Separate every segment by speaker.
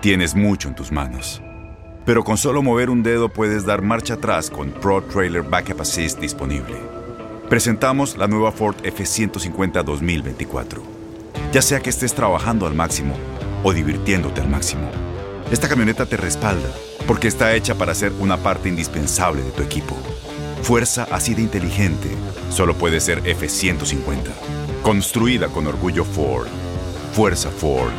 Speaker 1: Tienes mucho en tus manos. Pero con solo mover un dedo puedes dar marcha atrás con Pro Trailer Backup Assist disponible. Presentamos la nueva Ford F150 2024. Ya sea que estés trabajando al máximo o divirtiéndote al máximo, esta camioneta te respalda porque está hecha para ser una parte indispensable de tu equipo. Fuerza así de inteligente solo puede ser F150. Construida con orgullo Ford. Fuerza Ford.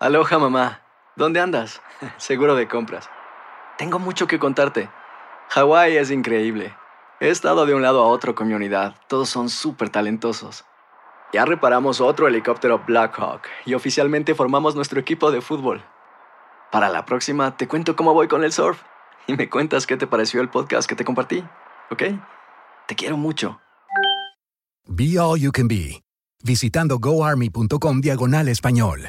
Speaker 2: Aloha mamá, ¿dónde andas? Seguro de compras. Tengo mucho que contarte. Hawái es increíble. He estado de un lado a otro con mi unidad. Todos son súper talentosos. Ya reparamos otro helicóptero Blackhawk y oficialmente formamos nuestro equipo de fútbol. Para la próxima te cuento cómo voy con el surf y me cuentas qué te pareció el podcast que te compartí, ¿ok? Te quiero mucho.
Speaker 3: Be All You Can Be, visitando goarmy.com diagonal español.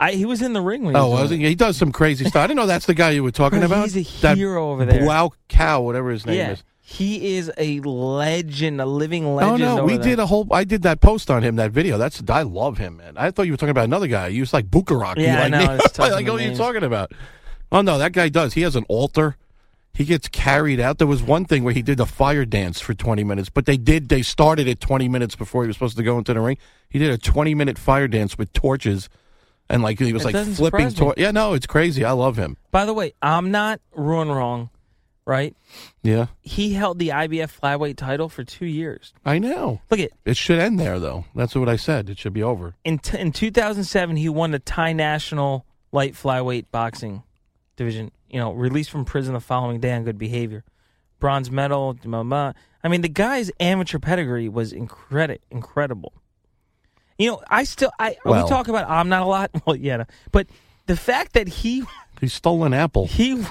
Speaker 4: I, he was in the ring. When
Speaker 5: Oh,
Speaker 4: he was
Speaker 5: was
Speaker 4: doing
Speaker 5: he? He does some crazy stuff. I didn't know that's the guy you were talking
Speaker 4: Bro,
Speaker 5: about.
Speaker 4: he's a
Speaker 5: That
Speaker 4: hero over there.
Speaker 5: Wow, cow, whatever his
Speaker 4: it.
Speaker 5: name
Speaker 4: Yeah,
Speaker 5: is.
Speaker 4: he is a legend, a living
Speaker 5: Oh
Speaker 4: legend.
Speaker 5: no,
Speaker 4: over
Speaker 5: we
Speaker 4: there.
Speaker 5: did a whole. I did that post on him, that video. That's I love him, man. I thought you were talking about another guy. You was like Bukarok.
Speaker 4: Yeah, I
Speaker 5: like,
Speaker 4: know, it's tough
Speaker 5: like
Speaker 4: to
Speaker 5: what are you
Speaker 4: name.
Speaker 5: talking about? Oh no, that guy does. He has an altar. He gets carried out. There was one thing where he did the fire dance for twenty minutes, but they did. They started it twenty minutes before he was supposed to go into the ring. He did a twenty minute fire dance with torches, and like he was
Speaker 4: That
Speaker 5: like
Speaker 4: doesn't
Speaker 5: flipping.
Speaker 4: surprise me.
Speaker 5: Tor- yeah, no, it's crazy. I love him.
Speaker 4: By the way, I'm not ruin wrong, right?
Speaker 5: Yeah,
Speaker 4: He held the IBF flyweight title for two years.
Speaker 5: I know.
Speaker 4: Look at
Speaker 5: It should end there though. That's what I said. It should be over.
Speaker 4: in t- in 2007 he won the Thai national light flyweight boxing division. You know, released from prison the following day on good behavior, bronze medal. blah, blah. I mean, the guy's amateur pedigree was incredi- incredible. You know, I still I
Speaker 5: Well-
Speaker 4: we talk about I'm not a lot. Well, yeah, but the fact that he
Speaker 5: He stole an apple.
Speaker 4: he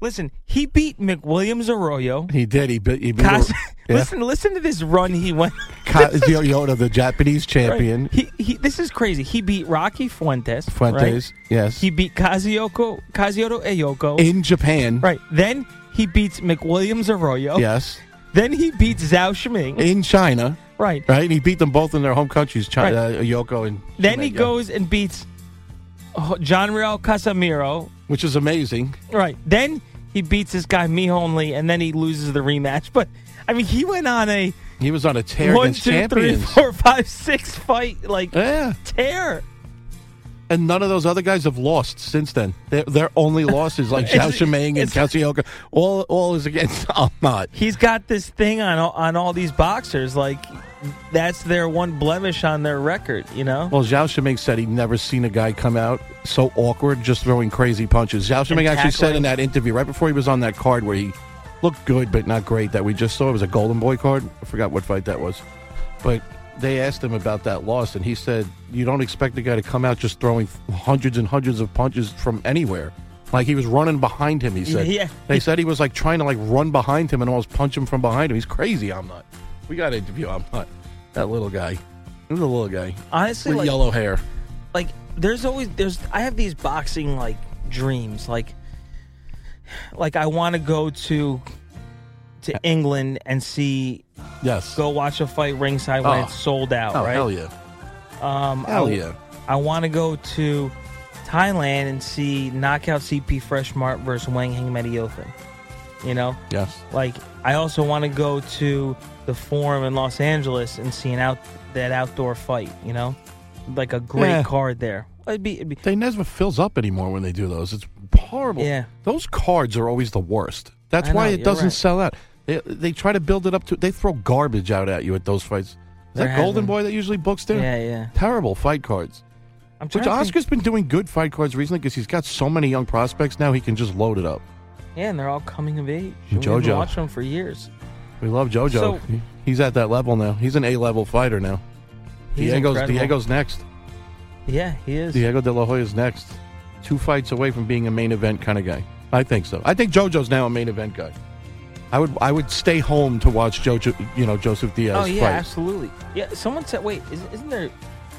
Speaker 4: listen he beat McWilliams Arroyo.
Speaker 5: He did. He bit. He bit
Speaker 4: Cos-
Speaker 5: yeah.
Speaker 4: Listen, listen to this run he went.
Speaker 5: Ka- Yo- Yoda, the Japanese champion.
Speaker 4: Right. He, he, this is crazy. He beat Rocky Fuentes. right?
Speaker 5: Fuentes, yes.
Speaker 4: He beat Kazuyoko, Kazuyoto Ayoko.
Speaker 5: In Japan. Oh.
Speaker 4: right. Then he beats McWilliams Arroyo.
Speaker 5: Yes.
Speaker 4: Then he beats Zhao Shiming
Speaker 5: in China.
Speaker 4: Right.
Speaker 5: Right. And he beat them both in their home countries, China, uh, Yoko and.
Speaker 4: Then
Speaker 5: Shimei,
Speaker 4: he
Speaker 5: yeah.
Speaker 4: goes and beats oh, John Real Casamiro.
Speaker 5: Which is amazing.
Speaker 4: Right. Then he beats this guy Mihon Lee, and then he loses the rematch. But I mean, he went on a
Speaker 5: He was on a tear
Speaker 4: one,
Speaker 5: against
Speaker 4: two, three,
Speaker 5: champions.
Speaker 4: four, five, six fight like
Speaker 5: Yeah.
Speaker 4: tear.
Speaker 5: And none of those other guys have lost since then. Their, their only losses, like Zhao Shimeng and Katsuyoka, all all is against Ahmad.
Speaker 4: He's got this thing on all- on all these boxers. Like that's their one blemish on their record. You know.
Speaker 5: Well, Zhao Shiming said he'd never seen a guy come out so awkward, just throwing crazy punches. Zhao Shiming actually said
Speaker 4: tackling.
Speaker 5: in that interview right before he was on that card where he looked good but not great that we just saw. It was a Golden Boy card. I forgot what fight that was. But they asked him about that loss, and he said, You don't expect a guy to come out just throwing hundreds and hundreds of punches from anywhere. Like he was running behind him, he said.
Speaker 4: Yeah.
Speaker 5: They said he was like trying to like run behind him and almost punch him from behind him. He's crazy, I'm not. We got to interview I'm not. That little guy. He was a little guy
Speaker 4: Honestly,
Speaker 5: with
Speaker 4: like,
Speaker 5: yellow hair.
Speaker 4: like there's always there's I have these boxing like dreams like like I want to go to to England and see
Speaker 5: Yes.
Speaker 4: go watch a fight ringside when
Speaker 5: Oh.
Speaker 4: it's sold out
Speaker 5: oh
Speaker 4: right
Speaker 5: hell yeah!
Speaker 4: um
Speaker 5: Hell
Speaker 4: I,
Speaker 5: yeah!
Speaker 4: I want to go to Thailand and see knockout CP Fresh Mart versus Wang Hang Mediothan you know
Speaker 5: Yes.
Speaker 4: like I also want to go to the Forum in Los Angeles and see an out that outdoor fight you know like a great
Speaker 5: Yeah.
Speaker 4: card there it'd be, it'd be
Speaker 5: They never fills up anymore when they do those. It's horrible.
Speaker 4: Yeah.
Speaker 5: Those cards are always the worst. That's
Speaker 4: I
Speaker 5: why
Speaker 4: know,
Speaker 5: it
Speaker 4: you're
Speaker 5: doesn't
Speaker 4: right.
Speaker 5: sell out. They, they try to build it up to. They throw garbage out at you at those fights. Is
Speaker 4: There
Speaker 5: that
Speaker 4: has
Speaker 5: Golden
Speaker 4: been.
Speaker 5: Boy that usually books there?
Speaker 4: Yeah, yeah.
Speaker 5: Terrible fight cards.
Speaker 4: I'm trying
Speaker 5: Which
Speaker 4: to think-
Speaker 5: Oscar's been doing good fight cards recently because he's got so many young prospects now. He can just load it up.
Speaker 4: Yeah, and they're all coming of age. And We've
Speaker 5: JoJo.
Speaker 4: been watching them for years.
Speaker 5: We love JoJo.
Speaker 4: So-
Speaker 5: He- he's at that level now. He's an A level fighter now.
Speaker 4: He's
Speaker 5: Diego's
Speaker 4: incredible.
Speaker 5: Diego's next.
Speaker 4: Yeah, he is.
Speaker 5: Diego De La Hoya's next. Two fights away from being a main event kind of guy. I think so. I think JoJo's now a main event guy. I would I would stay home to watch JoJo, you know, Joseph Diaz
Speaker 4: oh yeah,
Speaker 5: fight.
Speaker 4: absolutely. Yeah, someone said, wait, is, isn't there?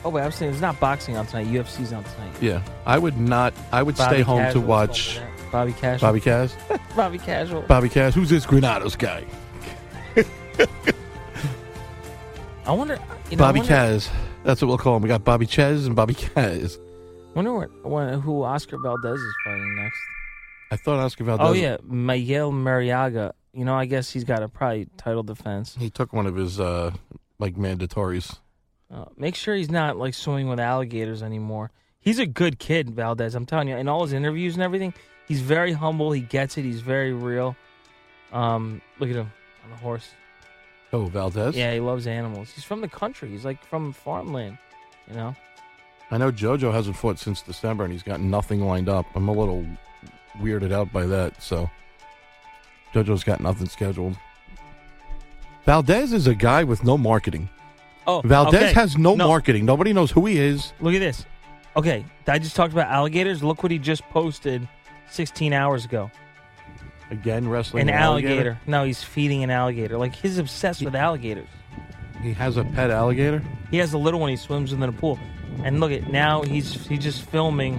Speaker 4: Oh wait, I was saying it's not boxing on tonight. UFC's on tonight.
Speaker 5: Yeah. I would not I would
Speaker 4: Bobby
Speaker 5: stay home
Speaker 4: Casual's
Speaker 5: to watch
Speaker 4: over there. Bobby Casual.
Speaker 5: Bobby Cass.
Speaker 4: Bobby Casual.
Speaker 5: Bobby Cass, who's this Granados guy?
Speaker 4: I wonder. You know,
Speaker 5: Bobby
Speaker 4: I wonder,
Speaker 5: Cass. That's what we'll call him. We got Bobby Ches and Bobby Cass.
Speaker 4: Wonder what, what, who Oscar Valdez is fighting next.
Speaker 5: I thought Oscar Valdez
Speaker 4: Oh yeah, Miguel Mariaga. You know, I guess he's got a probably title defense.
Speaker 5: he took one of his uh like mandatories.
Speaker 4: Uh, make sure he's not like swimming with alligators anymore. He's a good kid, Valdez. I'm telling you, in all his interviews and everything, he's very humble. He gets it. He's very real. Um, look at him on the horse.
Speaker 5: Oh, Valdez?
Speaker 4: Yeah, he loves animals. He's from the country. He's like from farmland. You know,
Speaker 5: I know JoJo hasn't fought since December and he's got nothing lined up. I'm a little weirded out by that, so JoJo's got nothing scheduled. Valdez is a guy with no marketing.
Speaker 4: oh
Speaker 5: Valdez
Speaker 4: okay.
Speaker 5: has no, marketing. Nobody knows who he is.
Speaker 4: Look at this. Okay, I just talked about alligators. Look what he just posted 16 hours ago.
Speaker 5: Again, wrestling
Speaker 4: An alligator. No, he's feeding an alligator. Like he's obsessed with alligators.
Speaker 5: He has a pet alligator.
Speaker 4: He has a little one. He swims in the pool, and look at now he's he's just filming.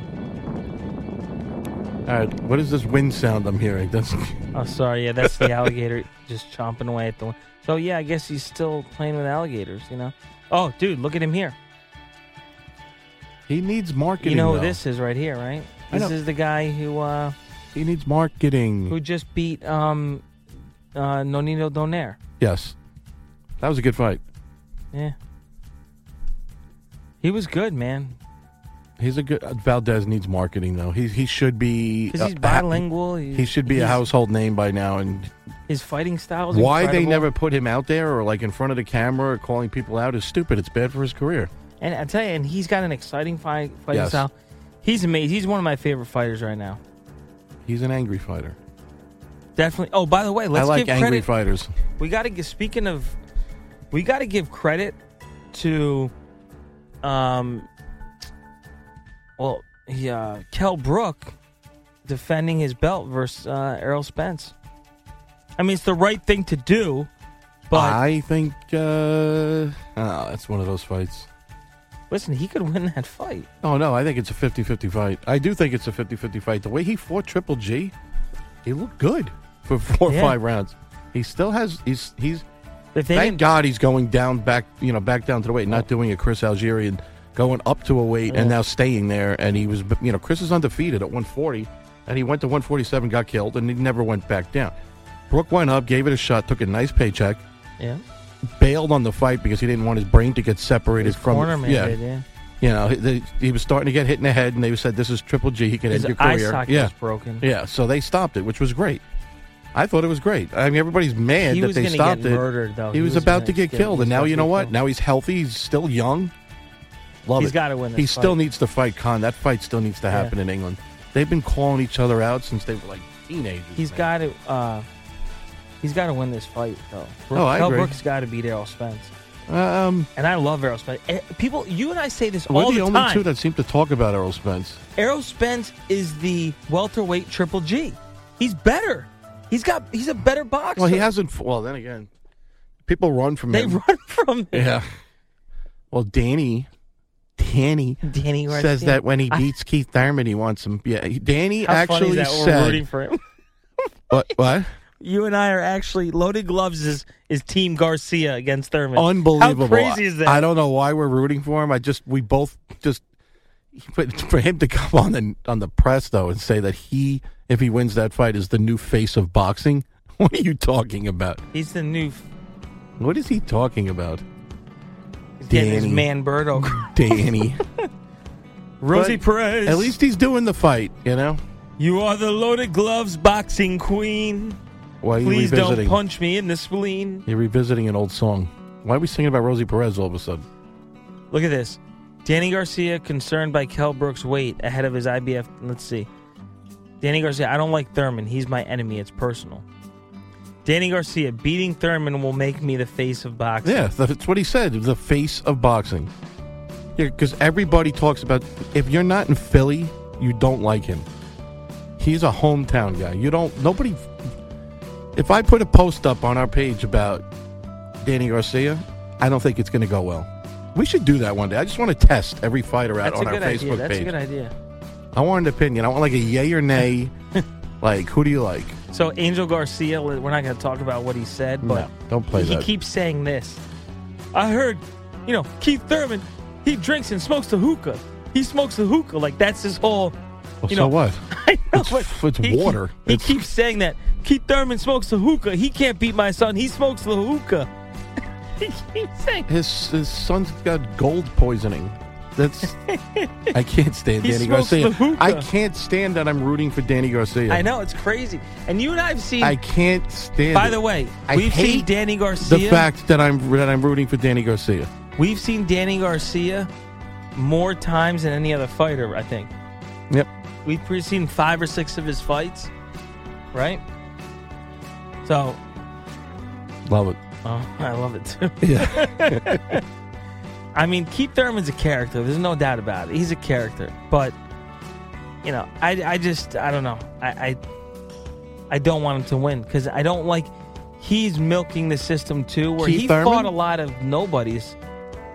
Speaker 5: All right, what is this wind sound I'm hearing? That's
Speaker 4: Oh, sorry, yeah, that's the alligator just chomping away at the one. So yeah, I guess he's still playing with alligators, you know. Oh, dude, look at him here.
Speaker 5: he needs marketing.
Speaker 4: You know who
Speaker 5: though.
Speaker 4: this is right here, right?
Speaker 5: I
Speaker 4: This
Speaker 5: know.
Speaker 4: is the guy who uh
Speaker 5: He needs marketing.
Speaker 4: who just beat um uh Nonino Donaire.
Speaker 5: yes, that was a good fight.
Speaker 4: Yeah, he was good, man.
Speaker 5: He's a good Valdez needs marketing though. He he should be
Speaker 4: Because he's
Speaker 5: uh,
Speaker 4: bilingual.
Speaker 5: He,
Speaker 4: He's,
Speaker 5: should be a
Speaker 4: he's-
Speaker 5: household name by now. And
Speaker 4: His fighting style. Is
Speaker 5: why they
Speaker 4: incredible.
Speaker 5: never put him out there or like in front of the camera or calling people out is stupid. It's bad for his career.
Speaker 4: And I tell you, and he's got an exciting fight, fighting
Speaker 5: Yes.
Speaker 4: style. He's amazing. He's one of my favorite fighters right now.
Speaker 5: He's an angry fighter.
Speaker 4: Definitely. Oh, by the way, let's
Speaker 5: I like
Speaker 4: give
Speaker 5: angry
Speaker 4: credit.
Speaker 5: fighters.
Speaker 4: we got to give. Speaking of, we got to give credit to, um, well, he, uh, Kel Brook defending his belt versus uh, Errol Spence. I mean, it's the right thing to do, but
Speaker 5: I think uh, oh, that's one of those fights.
Speaker 4: listen, he could win that fight.
Speaker 5: Oh no, I think it's a 50-50 fight. I do think it's a 50-50 fight. The way he fought Triple G, he looked good for four or
Speaker 4: Yeah.
Speaker 5: five rounds. He still has. He's he's.
Speaker 4: If they
Speaker 5: Thank
Speaker 4: didn't- Oh.
Speaker 5: God he's going down back. You know, back down to the weight, not doing a Chris Algerian, going up to a weight and
Speaker 4: Yeah.
Speaker 5: now staying there. And he was, you know, Chris is undefeated at 140, and he went to 147, got killed, and he never went back down. Brooke went up, gave it a shot, took a nice paycheck,
Speaker 4: Yeah.
Speaker 5: bailed on the fight because he didn't want his brain to get separated
Speaker 4: His
Speaker 5: from
Speaker 4: corner man
Speaker 5: yeah.
Speaker 4: did, yeah.
Speaker 5: You know, he, they- he was starting to get hit in the head, and they said, "This is Triple G. He can
Speaker 4: His
Speaker 5: end your
Speaker 4: eye
Speaker 5: career."
Speaker 4: socket
Speaker 5: yeah,
Speaker 4: was broken.
Speaker 5: Yeah, so they stopped it, which was great. I thought it was great. I mean, everybody's mad
Speaker 4: He
Speaker 5: that
Speaker 4: was
Speaker 5: they
Speaker 4: gonna
Speaker 5: stopped
Speaker 4: get
Speaker 5: it.
Speaker 4: murdered, though.
Speaker 5: He,
Speaker 4: He
Speaker 5: was,
Speaker 4: was
Speaker 5: about
Speaker 4: gonna
Speaker 5: to get
Speaker 4: get-
Speaker 5: killed,
Speaker 4: he was
Speaker 5: and now
Speaker 4: about
Speaker 5: you
Speaker 4: to
Speaker 5: know
Speaker 4: get
Speaker 5: what?
Speaker 4: killed.
Speaker 5: Now he's healthy. He's still young. Love
Speaker 4: He's
Speaker 5: it.
Speaker 4: gotta win
Speaker 5: he
Speaker 4: this
Speaker 5: still
Speaker 4: fight.
Speaker 5: needs to fight Khan. That fight still needs to
Speaker 4: Yeah.
Speaker 5: happen in England. They've been calling each other out since they were like teenagers.
Speaker 4: He's
Speaker 5: man.
Speaker 4: got to. Uh, he's got to win this fight, though.
Speaker 5: Oh, I
Speaker 4: Kell
Speaker 5: agree.
Speaker 4: Brook's got to beat Errol Spence,
Speaker 5: Um,
Speaker 4: and I love Errol Spence. Eh, People, you and I say this
Speaker 5: we're
Speaker 4: all
Speaker 5: the,
Speaker 4: the,
Speaker 5: only
Speaker 4: time.
Speaker 5: two that seem to talk about Errol Spence.
Speaker 4: Errol Spence is the welterweight Triple G. He's better. He's got. He's a better boxer.
Speaker 5: Well, he hasn't. f- Well, then again, people run from
Speaker 4: They
Speaker 5: him.
Speaker 4: run from him.
Speaker 5: Yeah. Well, Danny, Danny,
Speaker 4: Danny Garcia.
Speaker 5: says that when he
Speaker 4: I-
Speaker 5: beats Keith Thurman, he wants him. Yeah, he- Danny
Speaker 4: How
Speaker 5: actually
Speaker 4: funny is that we're rooting
Speaker 5: said
Speaker 4: for him.
Speaker 5: what? What?
Speaker 4: You and I are actually loaded gloves is is Team Garcia against Thurman.
Speaker 5: Unbelievable!
Speaker 4: How crazy is that?
Speaker 5: I don't know why we're rooting for him. I just we both just but for him to come on the on the press though and say that he, if he wins that fight, is the new face of boxing. What are you talking about?
Speaker 4: He's the new
Speaker 5: What is he talking about?
Speaker 4: he's getting his
Speaker 5: Danny.
Speaker 4: man Birdo.
Speaker 5: Danny.
Speaker 4: Rosie
Speaker 5: But
Speaker 4: Perez.
Speaker 5: At least he's doing the fight, you know.
Speaker 4: you are the loaded gloves boxing queen.
Speaker 5: Why are Oh, you
Speaker 4: Please don't
Speaker 5: revisiting?
Speaker 4: punch me in the spleen.
Speaker 5: You're revisiting an old song. Why are we singing about Rosie Perez all of a sudden?
Speaker 4: Look at this. Danny Garcia concerned by Kell Brook's weight ahead of his IBF. Let's see. Danny Garcia, I don't like Thurman. He's my enemy. It's personal. Danny Garcia, beating Thurman will make me the face of boxing.
Speaker 5: Yeah, that's what he said. The face of boxing. Yeah, because everybody talks about if you're not in Philly, you don't like him. He's a hometown guy. You don't. Nobody. If I put a post up on our page about Danny Garcia, I don't think it's going to go well. We should do that one day. I just want to test every fighter out
Speaker 4: That's
Speaker 5: on
Speaker 4: a
Speaker 5: our
Speaker 4: good
Speaker 5: Facebook
Speaker 4: idea. That's
Speaker 5: page.
Speaker 4: a good idea.
Speaker 5: I want an opinion. I want like a yay or nay. like, who do you like?
Speaker 4: So Angel Garcia, we're not going to talk about what he said, but
Speaker 5: No, don't play
Speaker 4: he
Speaker 5: that.
Speaker 4: keeps saying this. I heard, you know, Keith Thurman, he drinks and smokes the hookah. He smokes the hookah like that's his whole.
Speaker 5: Well,
Speaker 4: you
Speaker 5: so
Speaker 4: know,
Speaker 5: what?
Speaker 4: I know,
Speaker 5: It's-
Speaker 4: but
Speaker 5: it's
Speaker 4: he keep-
Speaker 5: water.
Speaker 4: He
Speaker 5: It's-
Speaker 4: keeps saying that Keith Thurman smokes the hookah. He can't beat my son. He smokes the hookah. he keeps saying
Speaker 5: His his son's got gold poisoning. That's I can't stand
Speaker 4: He
Speaker 5: Danny
Speaker 4: smokes the
Speaker 5: Garcia.
Speaker 4: hookah.
Speaker 5: I can't stand that I'm rooting for Danny Garcia.
Speaker 4: I know it's crazy. And you and I have seen.
Speaker 5: I can't stand.
Speaker 4: by
Speaker 5: it.
Speaker 4: the way,
Speaker 5: I
Speaker 4: we've seen
Speaker 5: hate
Speaker 4: Danny Garcia.
Speaker 5: the fact that I'm that I'm rooting for Danny Garcia.
Speaker 4: We've seen Danny Garcia more times than any other fighter, I think.
Speaker 5: Yep.
Speaker 4: We've pre- seen five or six of his fights, right? So,
Speaker 5: Love it.
Speaker 4: oh, I love it too.
Speaker 5: Yeah.
Speaker 4: I mean, Keith Thurman's a character. There's no doubt about it. He's a character. But, you know, I, I just, I don't know. I, I, I don't want him to win because I don't like, he's milking the system too, where
Speaker 5: Keith
Speaker 4: he
Speaker 5: Thurman?
Speaker 4: fought a lot of nobodies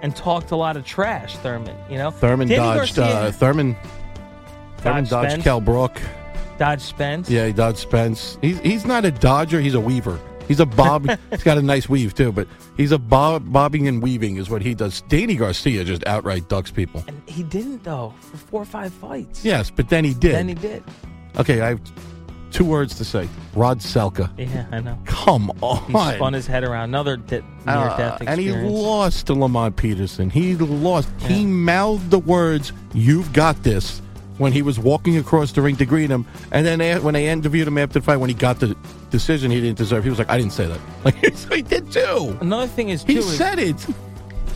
Speaker 4: and talked a lot of trash, Thurman, you know?
Speaker 5: Thurman
Speaker 4: Danny
Speaker 5: dodged
Speaker 4: Garcia-
Speaker 5: uh, Thurman Thurman
Speaker 4: Dodge
Speaker 5: dodged
Speaker 4: Spence.
Speaker 5: Cal Brook.
Speaker 4: Dodge Spence.
Speaker 5: Yeah, he dodged Spence. He's he's not a dodger, he's a weaver. He's a bob he's got a nice weave too, but he's a bob bobbing and weaving is what he does. Danny Garcia just outright ducks people.
Speaker 4: And he didn't though for four or five fights.
Speaker 5: Yes, but then he did.
Speaker 4: Then he did.
Speaker 5: Okay, I have two words to say. Rod Selka.
Speaker 4: Yeah, I know.
Speaker 5: Come
Speaker 4: He
Speaker 5: on.
Speaker 4: spun his head around. Another de- near
Speaker 5: Uh,
Speaker 4: death
Speaker 5: and he
Speaker 4: experience.
Speaker 5: lost to Lamont Peterson. He lost. He
Speaker 4: Yeah.
Speaker 5: mouthed the words, You've got this, when he was walking across the ring to greet him. And then a- when they interviewed him after the fight, when he got the decision he didn't deserve, he was like, I didn't say that. Like, so he did too.
Speaker 4: Another thing is too.
Speaker 5: He
Speaker 4: is-
Speaker 5: said it.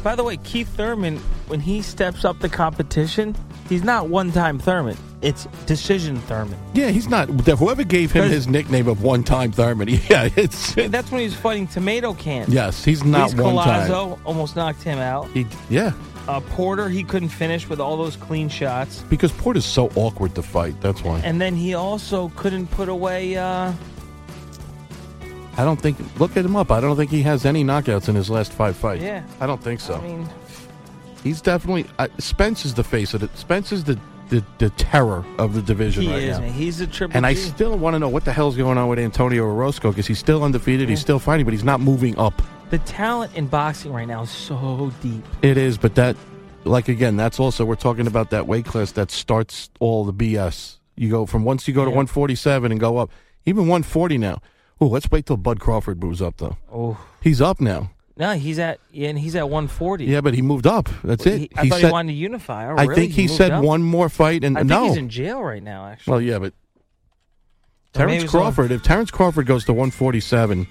Speaker 4: by the way, Keith Thurman, when he steps up the competition, he's not one-time Thurman. It's decision Thurman.
Speaker 5: Yeah, he's not. Whoever gave him
Speaker 4: Because-
Speaker 5: his nickname of one time Thurman, yeah, it's.
Speaker 4: And that's when he was fighting Tomato Can.
Speaker 5: yes, he's not
Speaker 4: Luis
Speaker 5: one time.
Speaker 4: Collazo almost knocked him out.
Speaker 5: He, yeah.
Speaker 4: Uh, Porter, he couldn't finish with all those clean shots.
Speaker 5: Because Porter's so awkward to fight. That's why.
Speaker 4: And then he also couldn't put away. Uh,
Speaker 5: I don't think. Look at him up. I don't think he has any knockouts in his last five fights.
Speaker 4: Yeah.
Speaker 5: I don't think so.
Speaker 4: I mean,
Speaker 5: He's definitely. I Spence is the face of it. Spence is the the, the terror of the division
Speaker 4: He
Speaker 5: right
Speaker 4: is,
Speaker 5: now.
Speaker 4: man. He's a triple
Speaker 5: And I
Speaker 4: G.
Speaker 5: still want to know what the hell's going on with Antonio Orozco because he's still undefeated. He's still fighting, but he's not moving up.
Speaker 4: The talent in boxing right now is so deep.
Speaker 5: It is, but that, like again, that's also we're talking about that weight class that starts all the BS. You go from once you go to 147 and go up, even 140 now. Oh, let's wait till Bud Crawford moves up though.
Speaker 4: Oh.
Speaker 5: he's up now.
Speaker 4: No, he's at and he's at 140.
Speaker 5: Yeah, but he moved up. That's
Speaker 4: Well,
Speaker 5: it.
Speaker 4: he- I thought he wanted to unify. Oh,
Speaker 5: I
Speaker 4: really?
Speaker 5: think
Speaker 4: He
Speaker 5: he
Speaker 4: moved
Speaker 5: said
Speaker 4: up?
Speaker 5: one more fight, and
Speaker 4: I think
Speaker 5: no.
Speaker 4: he's in jail right now. Actually,
Speaker 5: well, yeah, but
Speaker 4: Or maybe
Speaker 5: Terrence
Speaker 4: it's on-
Speaker 5: Crawford. If Terrence Crawford goes to 147,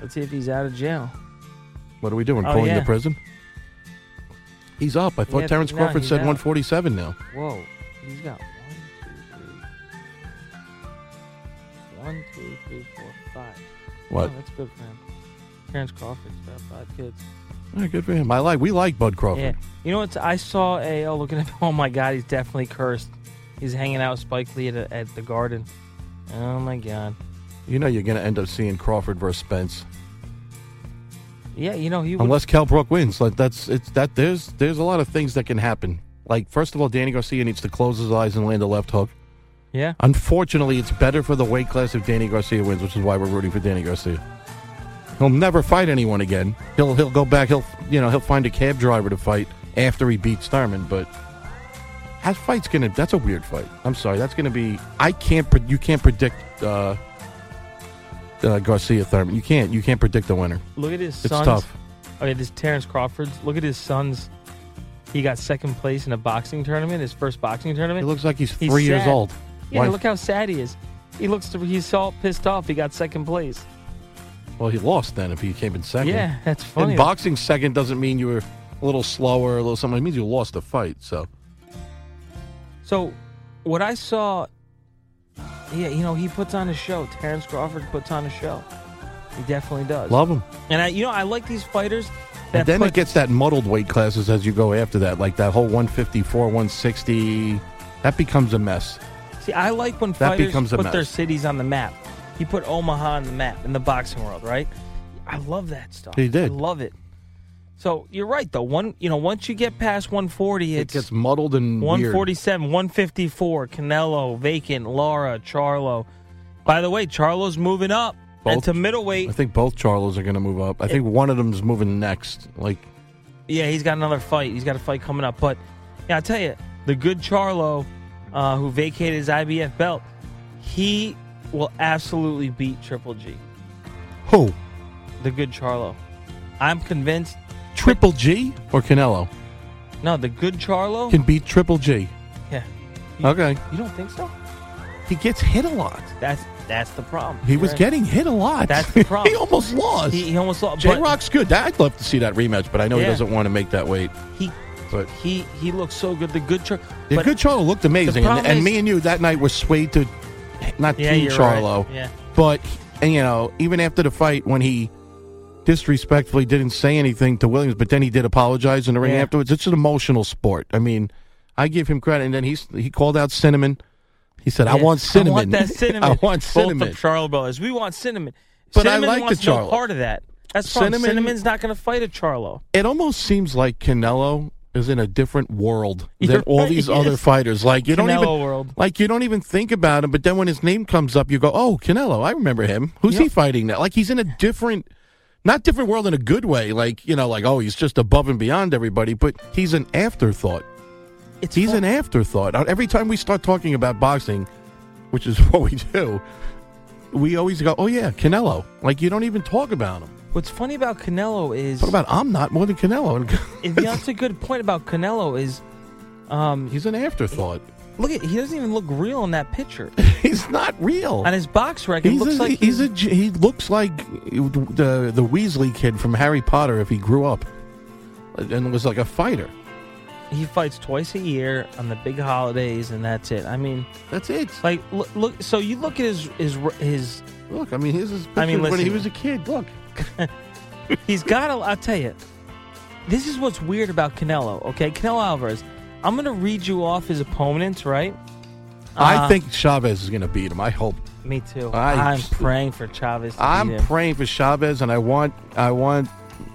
Speaker 4: let's see if he's out of jail.
Speaker 5: what are we doing?
Speaker 4: Oh,
Speaker 5: Calling
Speaker 4: yeah.
Speaker 5: the prison? He's up. I thought
Speaker 4: Yeah,
Speaker 5: Terrence
Speaker 4: no,
Speaker 5: Crawford
Speaker 4: he's
Speaker 5: said
Speaker 4: out.
Speaker 5: 147 now.
Speaker 4: Whoa, he's got one, two, three, one, two, three, four, five.
Speaker 5: What?
Speaker 4: Oh, that's good for him. Terrence Crawford's got five kids.
Speaker 5: All right, good for him. I like. We like Bud Crawford.
Speaker 4: Yeah. You know what? I saw a. Oh, looking at. Oh my God, he's definitely cursed. He's hanging out with Spike Lee at, a, at the Garden. Oh my God.
Speaker 5: You know you're going to end up seeing Crawford versus Spence,
Speaker 4: Yeah, you know he. would-
Speaker 5: unless Cal Brook wins. Like that's it's that there's there's a lot of things that can happen. Like first of all, Danny Garcia needs to close his eyes and land a left hook.
Speaker 4: Yeah.
Speaker 5: Unfortunately, it's better for the weight class if Danny Garcia wins, which is why we're rooting for Danny Garcia. He'll never fight anyone again. He'll he'll go back. He'll you know he'll find a cab driver to fight after he beats Thurman. But that fight's gonna that's a weird fight. I'm sorry, that's gonna be I can't pre- you can't predict uh, uh, Garcia Thurman. You can't you can't predict the winner.
Speaker 4: Look at his
Speaker 5: It's
Speaker 4: sons.
Speaker 5: tough.
Speaker 4: Okay, this Terrence Crawford's. Look at his sons. He got second place in a boxing tournament, his first boxing tournament.
Speaker 5: He looks like he's three years
Speaker 4: sad.
Speaker 5: old.
Speaker 4: Yeah,
Speaker 5: Why-
Speaker 4: look how sad he is. He looks. He's all pissed off. He got second place.
Speaker 5: Well, he lost then if he came in second.
Speaker 4: Yeah, that's funny.
Speaker 5: And boxing second doesn't mean you were a little slower, a little something. It means you lost the fight. So
Speaker 4: So, what I saw, yeah, you know, he puts on a show. Terrence Crawford puts on a show. He definitely does.
Speaker 5: love him.
Speaker 4: And I, you know, I like these fighters. That
Speaker 5: And then
Speaker 4: put,
Speaker 5: it gets that muddled weight classes as you go after that, like that whole 154, 160. That becomes a mess.
Speaker 4: see, I like when
Speaker 5: that
Speaker 4: fighters
Speaker 5: becomes a
Speaker 4: put
Speaker 5: mess.
Speaker 4: their cities on the map. He put Omaha on the map in the boxing world, right? I love that stuff.
Speaker 5: He did.
Speaker 4: I love it. So you're right, though. One, you know, once you get past 140,
Speaker 5: It
Speaker 4: it's
Speaker 5: gets muddled and weird.
Speaker 4: 147, 154, Canelo, Vacant, Lara, Charlo. By the way, Charlo's moving up and
Speaker 5: Both-
Speaker 4: to middleweight.
Speaker 5: I think both Charlos are going to move up. I think one of them's moving next. Like
Speaker 4: Yeah, he's got another fight. He's got a fight coming up. But yeah, I tell you, the good Charlo, uh, who vacated his IBF belt, he will absolutely beat Triple G.
Speaker 5: who?
Speaker 4: The good Charlo, I'm convinced.
Speaker 5: Triple G or Canelo
Speaker 4: No, the good Charlo.
Speaker 5: can beat Triple G.
Speaker 4: yeah,
Speaker 5: Okay,
Speaker 4: you don't think so?
Speaker 5: he gets hit a lot.
Speaker 4: That's that's the problem.
Speaker 5: He
Speaker 4: You're
Speaker 5: was
Speaker 4: right.
Speaker 5: getting hit a lot.
Speaker 4: That's the problem.
Speaker 5: he almost lost.
Speaker 4: He, he almost lost.
Speaker 5: J
Speaker 4: but
Speaker 5: Rock's good. That- I'd love to see that rematch, but I know he
Speaker 4: Yeah.
Speaker 5: doesn't want to make that weight.
Speaker 4: He
Speaker 5: But
Speaker 4: he he looks so good. The good Charlo.
Speaker 5: the
Speaker 4: but-
Speaker 5: good Charlo looked amazing, and,
Speaker 4: problem
Speaker 5: and
Speaker 4: is-
Speaker 5: me and you that night were swayed to not
Speaker 4: Yeah,
Speaker 5: Team
Speaker 4: you're right.
Speaker 5: Charlo,
Speaker 4: Yeah.
Speaker 5: but and, you know even after the fight when he disrespectfully didn't say anything to Williams, but then he did apologize in the ring
Speaker 4: Yeah.
Speaker 5: afterwards. It's an emotional sport. I mean, I give him credit, and then he he called out cinnamon. He said, "I
Speaker 4: Yeah.
Speaker 5: want cinnamon.
Speaker 4: I want that cinnamon.
Speaker 5: I want
Speaker 4: Both
Speaker 5: cinnamon."
Speaker 4: the Charlo brothers. We want cinnamon.
Speaker 5: But I
Speaker 4: cinnamon
Speaker 5: like the
Speaker 4: wants no
Speaker 5: Charlo.
Speaker 4: part of that. That's the problem.
Speaker 5: Cinnamon-
Speaker 4: Cinnamon's not going to fight a Charlo.
Speaker 5: it almost seems like Canelo is in a different world than
Speaker 4: You're
Speaker 5: all
Speaker 4: right,
Speaker 5: these
Speaker 4: he
Speaker 5: other
Speaker 4: is.
Speaker 5: fighters. Like you don't
Speaker 4: Canelo
Speaker 5: even
Speaker 4: world.
Speaker 5: like you don't even think about him, but then when his name comes up, you go, "Oh, Canelo, I remember him. Who's he
Speaker 4: Yep.
Speaker 5: fighting now?" Like he's in a different not different world in a good way, like, you know, like, "Oh, he's just above and beyond everybody," but he's an afterthought.
Speaker 4: It's
Speaker 5: he's an
Speaker 4: fun.
Speaker 5: afterthought. Uh, Every time we start talking about boxing, which is what we do, we always go, "Oh yeah, Canelo." Like you don't even talk about him.
Speaker 4: What's funny about Canelo is
Speaker 5: Talk about I'm not more than Canelo.
Speaker 4: and that's a good point about Canelo is um,
Speaker 5: He's an afterthought.
Speaker 4: look at he doesn't even look real in that picture.
Speaker 5: He's not real.
Speaker 4: On his box record,
Speaker 5: He's
Speaker 4: looks
Speaker 5: a,
Speaker 4: like
Speaker 5: he's a j- he looks like the the Weasley kid from Harry Potter if he grew up and was like a fighter.
Speaker 4: he fights twice a year on the big holidays, and that's it. I mean,
Speaker 5: That's it.
Speaker 4: like look, look so you look at his his his
Speaker 5: Look, I mean, here's his picture
Speaker 4: I mean,
Speaker 5: when he
Speaker 4: listen.
Speaker 5: was a kid. Look,
Speaker 4: He's got a. I'll tell you, this is what's weird about Canelo. Okay, Canelo Alvarez. I'm gonna read you off his opponents, right?
Speaker 5: I
Speaker 4: Uh,
Speaker 5: think Chavez is going to beat him. I hope.
Speaker 4: Me too.
Speaker 5: I-
Speaker 4: I, am praying for Chavez. To
Speaker 5: I'm
Speaker 4: beat him.
Speaker 5: praying for Chavez, and I want I want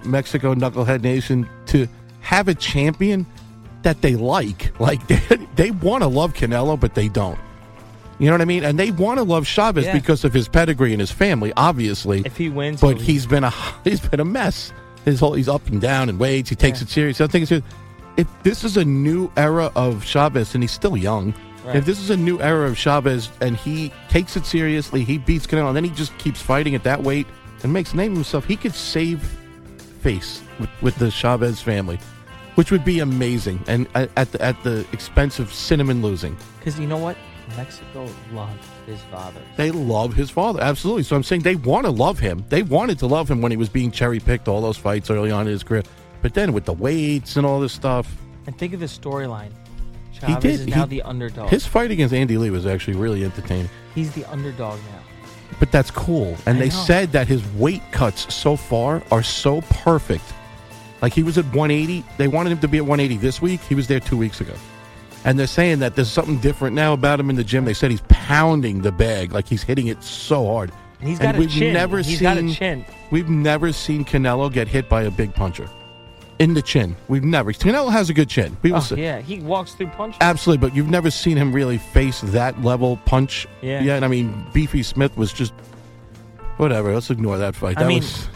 Speaker 5: Mexico Knucklehead Nation to have a champion not that they like. Like they, they want to love Canelo, but they don't. You know what I mean? And they want to love Chavez
Speaker 4: Yeah.
Speaker 5: because of his pedigree and his family, obviously.
Speaker 4: If he wins,
Speaker 5: but
Speaker 4: he'll-
Speaker 5: he's been a he's been a mess. His whole he's up and down and weights. He takes it serious. I think it's serious. if this is a new era of Chavez, and he's still young.
Speaker 4: Right.
Speaker 5: If this is a new era of Chavez, and he takes it seriously, he beats Canelo, and then he just keeps fighting at that weight and makes a name of himself. He could save face with, with the Chavez family, which would be amazing, and at at the, at the expense of Cinnamon losing.
Speaker 4: Because you know what? Mexico loved his father.
Speaker 5: They love his father, absolutely. So I'm saying they want to love him. They wanted to love him when he was being cherry picked all those fights early on in his career, but then with the weights and all this stuff,
Speaker 4: And think of the storyline.
Speaker 5: he
Speaker 4: Chavez
Speaker 5: did.
Speaker 4: is now
Speaker 5: he-
Speaker 4: the underdog.
Speaker 5: His fight against Andy Lee was actually really entertaining,
Speaker 4: He's the underdog now.
Speaker 5: but that's cool. And
Speaker 4: I
Speaker 5: they
Speaker 4: know.
Speaker 5: said that his weight cuts so far are so perfect. Like he was at 180. They wanted him to be at 180 this week. He was there two weeks ago. And they're saying that there's something different now about him in the gym. They said he's pounding the bag, like he's hitting it so hard.
Speaker 4: And he's got a
Speaker 5: we've
Speaker 4: chin.
Speaker 5: Never
Speaker 4: He's
Speaker 5: seen,
Speaker 4: got a chin.
Speaker 5: We've never seen Canelo get hit by a big puncher in the chin. We've never. Canelo has a good chin. People
Speaker 4: Oh,
Speaker 5: say,
Speaker 4: yeah, he walks through punches.
Speaker 5: Absolutely, but you've never seen him really face that level punch.
Speaker 4: Yeah.
Speaker 5: Yeah, and I mean, Beefy Smith was just whatever. Let's ignore that fight.
Speaker 4: I
Speaker 5: That
Speaker 4: mean,
Speaker 5: was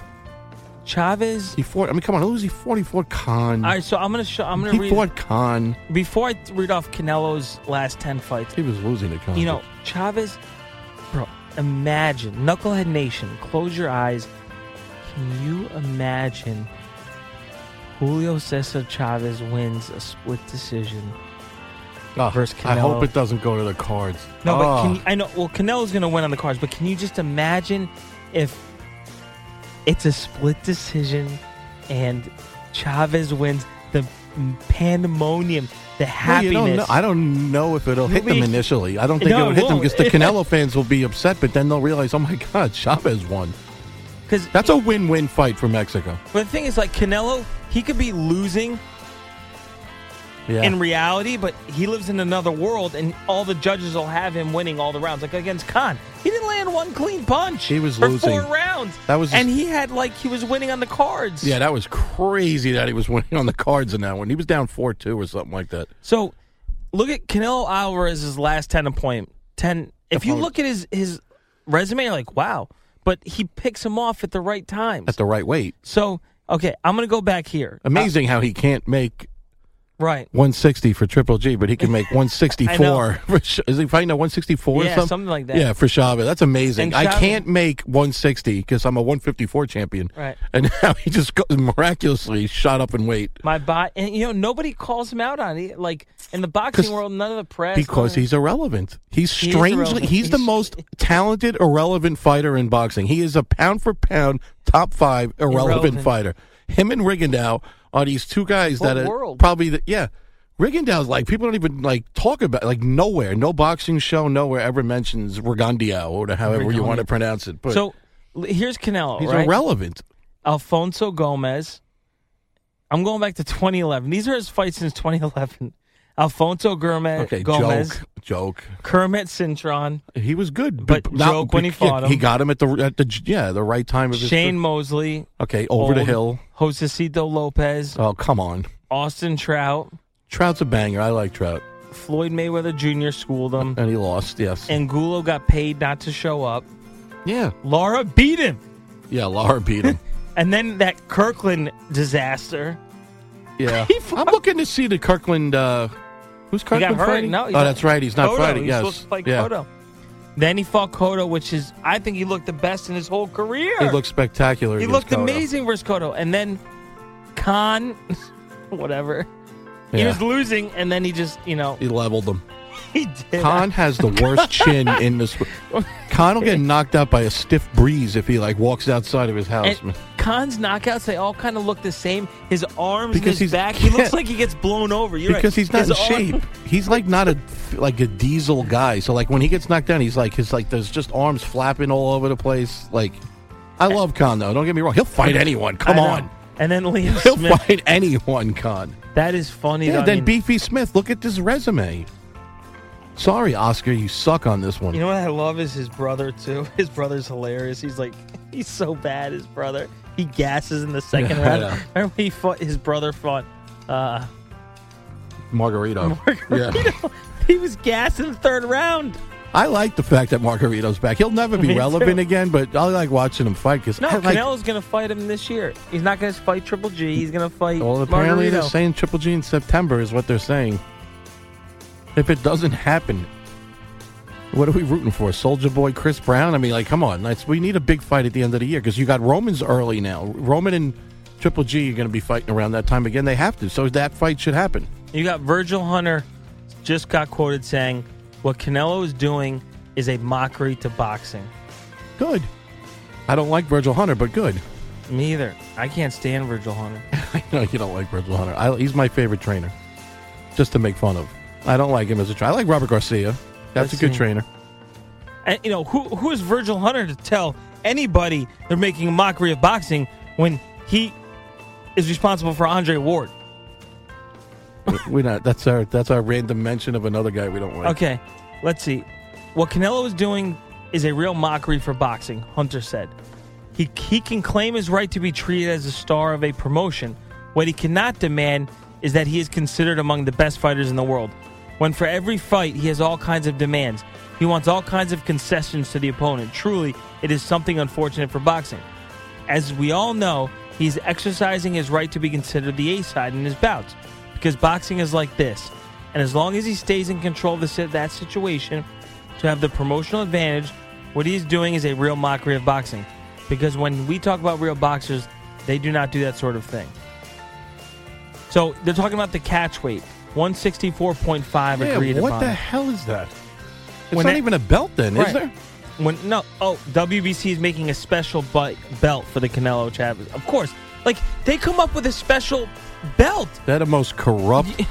Speaker 4: Chavez.
Speaker 5: he fought. I mean, come on, who was he? Forty four Khan.
Speaker 4: All right, so I'm gonna show. I'm gonna
Speaker 5: he
Speaker 4: read
Speaker 5: fought Khan.
Speaker 4: before I th- read off Canelo's last ten fights.
Speaker 5: He was losing to Khan.
Speaker 4: You know, Chavez, bro. Imagine Knucklehead Nation. Close your eyes. Can you imagine? Julio Cesar Chavez wins a split decision.
Speaker 5: Ah,
Speaker 4: versus
Speaker 5: I hope
Speaker 4: Canelo.
Speaker 5: it doesn't go to the cards.
Speaker 4: No, but can
Speaker 5: Ah.
Speaker 4: you, I know. Well, Canelo's going to win on the cards, but can you just imagine if it's a split decision and Chavez wins the pandemonium, the
Speaker 5: Well, you
Speaker 4: happiness?
Speaker 5: don't know- I don't know if it'll hit them
Speaker 4: Maybe-
Speaker 5: initially. I don't think
Speaker 4: No,
Speaker 5: it will
Speaker 4: it
Speaker 5: hit them
Speaker 4: won't.
Speaker 5: because the Canelo fans will be upset, but then they'll realize, oh my God, Chavez won.
Speaker 4: 'Cause-
Speaker 5: That's a win-win fight for Mexico.
Speaker 4: But the thing is, like Canelo, he could be losing
Speaker 5: Yeah.
Speaker 4: in reality, but he lives in another world, and all the judges will have him winning all the rounds. Like against Khan, he didn't land one clean punch.
Speaker 5: He was
Speaker 4: for
Speaker 5: losing.
Speaker 4: four rounds.
Speaker 5: That was-
Speaker 4: and he had like he was winning on the cards.
Speaker 5: Yeah, that was crazy that he was winning on the cards in that one. He was down four two or something like that.
Speaker 4: So look at Canelo Alvarez's last ten appointment. Ten. If you
Speaker 5: Opponent.
Speaker 4: look at his his resume, you're like wow, but he picks him off at the right times.
Speaker 5: At the right weight.
Speaker 4: So okay, I'm gonna go back here. Uh,
Speaker 5: Amazing how he can't make
Speaker 4: Right.
Speaker 5: 160 for Triple G, but he can make 164. for Ch- Is he fighting at 164 or
Speaker 4: Yeah,
Speaker 5: something?
Speaker 4: something like that.
Speaker 5: Yeah, for Chavez. That's amazing.
Speaker 4: And
Speaker 5: I
Speaker 4: Chavez-
Speaker 5: can't make 160 because I'm a 154 champion.
Speaker 4: Right.
Speaker 5: And now he just go- miraculously shot up in weight
Speaker 4: My bot, and you know nobody calls him out on it. Like in the
Speaker 5: 'Cause-
Speaker 4: boxing world, none of the press.
Speaker 5: because
Speaker 4: none of-
Speaker 5: he's irrelevant. He's
Speaker 4: He is
Speaker 5: strangely,
Speaker 4: irrelevant.
Speaker 5: he's, the
Speaker 4: He's-
Speaker 5: most talented, irrelevant fighter in boxing. He is a pound for pound, top five irrelevant,
Speaker 4: Irrelevant.
Speaker 5: fighter. Him and Rigondeaux are these two guys
Speaker 4: What
Speaker 5: that are
Speaker 4: world?
Speaker 5: probably, the, yeah. Rigondeaux's like, people don't even like talk about, like, nowhere. No boxing show, nowhere ever mentions Rigondeaux or however you want to pronounce it. But
Speaker 4: so. l- Here's Canelo.
Speaker 5: he's
Speaker 4: right?
Speaker 5: irrelevant.
Speaker 4: Alfonso Gomez. I'm going back to 2011. These are his fights since 2011. Alfonso Gomez,
Speaker 5: Okay,
Speaker 4: Uh, Gomez
Speaker 5: joke. Joke.
Speaker 4: Kermit Cintron,
Speaker 5: He was good,
Speaker 4: But joke when he fought him.
Speaker 5: He got him at the at the yeah the right time of his
Speaker 4: Shane Mosley,
Speaker 5: Okay, over the
Speaker 4: Old,
Speaker 5: hill.
Speaker 4: Josecito Lopez,
Speaker 5: Oh come on.
Speaker 4: Austin Trout,
Speaker 5: Trout's a banger. I like Trout.
Speaker 4: Floyd Mayweather Jr. schooled him.
Speaker 5: And he lost, yes.
Speaker 4: Angulo got paid not to show up.
Speaker 5: yeah.
Speaker 4: Laura beat him.
Speaker 5: Yeah, Lara beat him.
Speaker 4: And then that Kirkland disaster.
Speaker 5: Yeah.
Speaker 4: He fu-
Speaker 5: I'm looking to see the Kirkland. Uh, who's
Speaker 4: He got
Speaker 5: Kirkland
Speaker 4: hurt.
Speaker 5: fighting?
Speaker 4: No, he's
Speaker 5: oh, that's right. He's not
Speaker 4: Cotto.
Speaker 5: fighting.
Speaker 4: He was
Speaker 5: yes.
Speaker 4: supposed to fight
Speaker 5: yeah.
Speaker 4: Cotto. Then he fought Cotto, which is I think he looked the best in his whole career.
Speaker 5: He looked spectacular.
Speaker 4: He
Speaker 5: against
Speaker 4: looked
Speaker 5: Cotto.
Speaker 4: amazing versus Cotto. And then Khan, whatever. He
Speaker 5: Yeah.
Speaker 4: was losing, and then he just, you know,
Speaker 5: He leveled them.
Speaker 4: he did.
Speaker 5: Khan has the worst chin in this. Khan will get knocked out by a stiff breeze if he like walks outside of his house.
Speaker 4: And Khan's knockouts, they all kind of look the same. His arms,
Speaker 5: Because
Speaker 4: and
Speaker 5: he's-
Speaker 4: his back, he
Speaker 5: yeah.
Speaker 4: looks like he gets blown over. You're right.
Speaker 5: because he's not
Speaker 4: His
Speaker 5: in
Speaker 4: arm-
Speaker 5: shape. He's like not a like a diesel guy. So like when he gets knocked down, he's like his like there's just arms flapping all over the place. Like I love Khan though. Don't get me wrong. He'll fight anyone.
Speaker 4: I
Speaker 5: Come
Speaker 4: know.
Speaker 5: on.
Speaker 4: And then Liam
Speaker 5: He'll
Speaker 4: Smith.
Speaker 5: fight anyone, Khan.
Speaker 4: That is funny.
Speaker 5: Yeah,
Speaker 4: though. I
Speaker 5: then
Speaker 4: mean,
Speaker 5: Beefy Smith, look at this resume. Sorry, Oscar, you suck on this one.
Speaker 4: You know what I love is his brother, too. His brother's hilarious. He's like, he's so bad, his brother. He gasses in the second
Speaker 5: Yeah, I
Speaker 4: round.
Speaker 5: know.
Speaker 4: Remember when he fought, his brother fought uh,
Speaker 5: Margarito. Yeah.
Speaker 4: He was gassed in the third round.
Speaker 5: I like the fact that Margarito's back. He'll never be
Speaker 4: Me too.
Speaker 5: relevant again, but I like watching him fight because
Speaker 4: No,
Speaker 5: I like
Speaker 4: Canelo's going to fight him this year. He's not going to fight Triple G. He's going to fight
Speaker 5: Well, apparently they're
Speaker 4: Margarito.
Speaker 5: saying Triple G in September is what they're saying. If it doesn't happen, what are we rooting for? Soldier Boy, Chris Brown? I mean, like, come on. That's, we need a big fight at the end of the year because you got Roman's early now. Roman and Triple G are going to be fighting around that time again. They have to, so that fight should happen.
Speaker 4: You got Virgil Hunter just got quoted saying, "What Canelo is doing is a mockery to boxing."
Speaker 5: Good. I don't like Virgil Hunter, but good.
Speaker 4: Me either. I can't stand Virgil Hunter.
Speaker 5: I know you don't like Virgil Hunter. I, he's my favorite trainer, just to make fun of. I don't like him as a trainer. I like Robert Garcia. That's
Speaker 4: Let's
Speaker 5: a good
Speaker 4: see.
Speaker 5: trainer.
Speaker 4: And you know who who is Virgil Hunter to tell anybody they're making a mockery of boxing when he is responsible for Andre Ward?
Speaker 5: we not. That's our that's our random mention of another guy we don't like.
Speaker 4: Okay, let's see. What Canelo is doing is a real mockery for boxing, Hunter said. He, he can claim his right to be treated as a star of a promotion. What he cannot demand is that he is considered among the best fighters in the world. When for every fight, he has all kinds of demands. He wants all kinds of concessions to the opponent. Truly, it is something unfortunate for boxing. As we all know, he's exercising his right to be considered the A side in his bouts because boxing is like this. And as long as he stays in control of the, si- that situation to have the promotional advantage, what he's doing is a real mockery of boxing. Because when we talk about real boxers, they do not do that sort of thing. So they're talking about the catch weight 164.5
Speaker 5: Yeah,
Speaker 4: agreed
Speaker 5: what
Speaker 4: upon.
Speaker 5: the hell is that? It's
Speaker 4: When
Speaker 5: not
Speaker 4: that-
Speaker 5: even a belt, then,
Speaker 4: Right.
Speaker 5: is there?
Speaker 4: When no, oh, WBC is making a special bu- belt for the Canelo Chavez. Of course, like they come up with a special belt.
Speaker 5: They're the most corrupt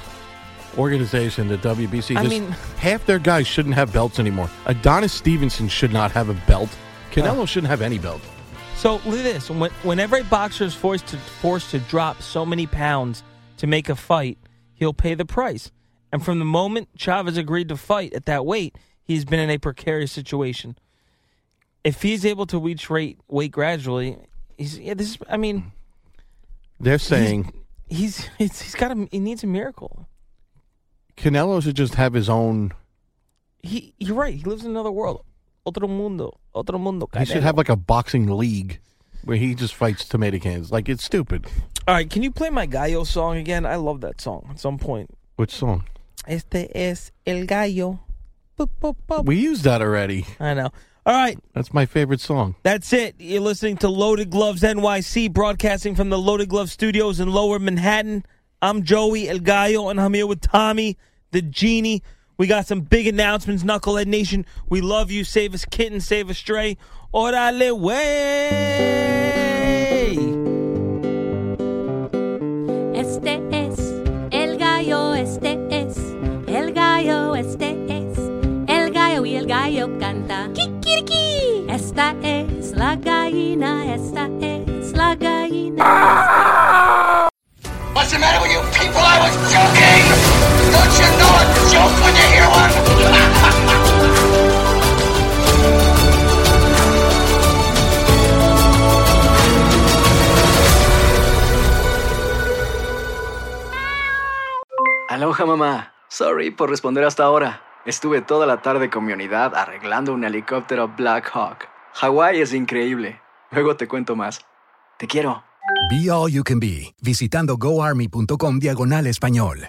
Speaker 5: organization, the WBC.
Speaker 4: I
Speaker 5: Just
Speaker 4: mean-
Speaker 5: half their guys shouldn't have belts anymore. Adonis Stevenson should not have a belt. Canelo shouldn't have any belt.
Speaker 4: So look at this. When, whenever a boxer is forced to forced to drop so many pounds to make a fight, he'll pay the price. And from the moment Chavez agreed to fight at that weight, he's been in a precarious situation. If he's able to reach rate weight gradually, he's yeah. This is, I mean,
Speaker 5: They're saying
Speaker 4: he's it's, he's got a, he needs a miracle.
Speaker 5: Canelo should just have his own.
Speaker 4: He you're right. He lives in another world, otro mundo, otro mundo.
Speaker 5: He should
Speaker 4: Canelo.
Speaker 5: have like a boxing league where he just fights tomato cans. Like it's stupid.
Speaker 4: All right, can you play my Gallo song again? I love that song at some point.
Speaker 5: Which song?
Speaker 4: Este es el gallo. Boop, boop, boop.
Speaker 5: We used that already.
Speaker 4: I know. All right,
Speaker 5: That's my favorite song.
Speaker 4: that's it. You're listening to Loaded Gloves NYC, broadcasting from the Loaded Glove Studios in Lower Manhattan. I'm Joey El Gallo, and I'm here with Tommy the Genie. We got some big announcements, Knucklehead Nation. We love you. Save us, kitten. Save us, stray. Orale way.
Speaker 6: Este es el gallo, este es el gallo, este es el gallo y el gallo canta. ¡Kikiriki! Esta es la gallina, esta es la gallina.
Speaker 7: What's the matter with you people? I was joking! Don't you know it's a joke when you hear one?
Speaker 2: Aloha mamá. Sorry por responder hasta ahora. Estuve toda la tarde con mi unidad arreglando un helicóptero Black Hawk. Hawái es increíble. Luego te cuento más. Te quiero.
Speaker 3: Be All You Can Be, visitando goarmy.com diagonal español.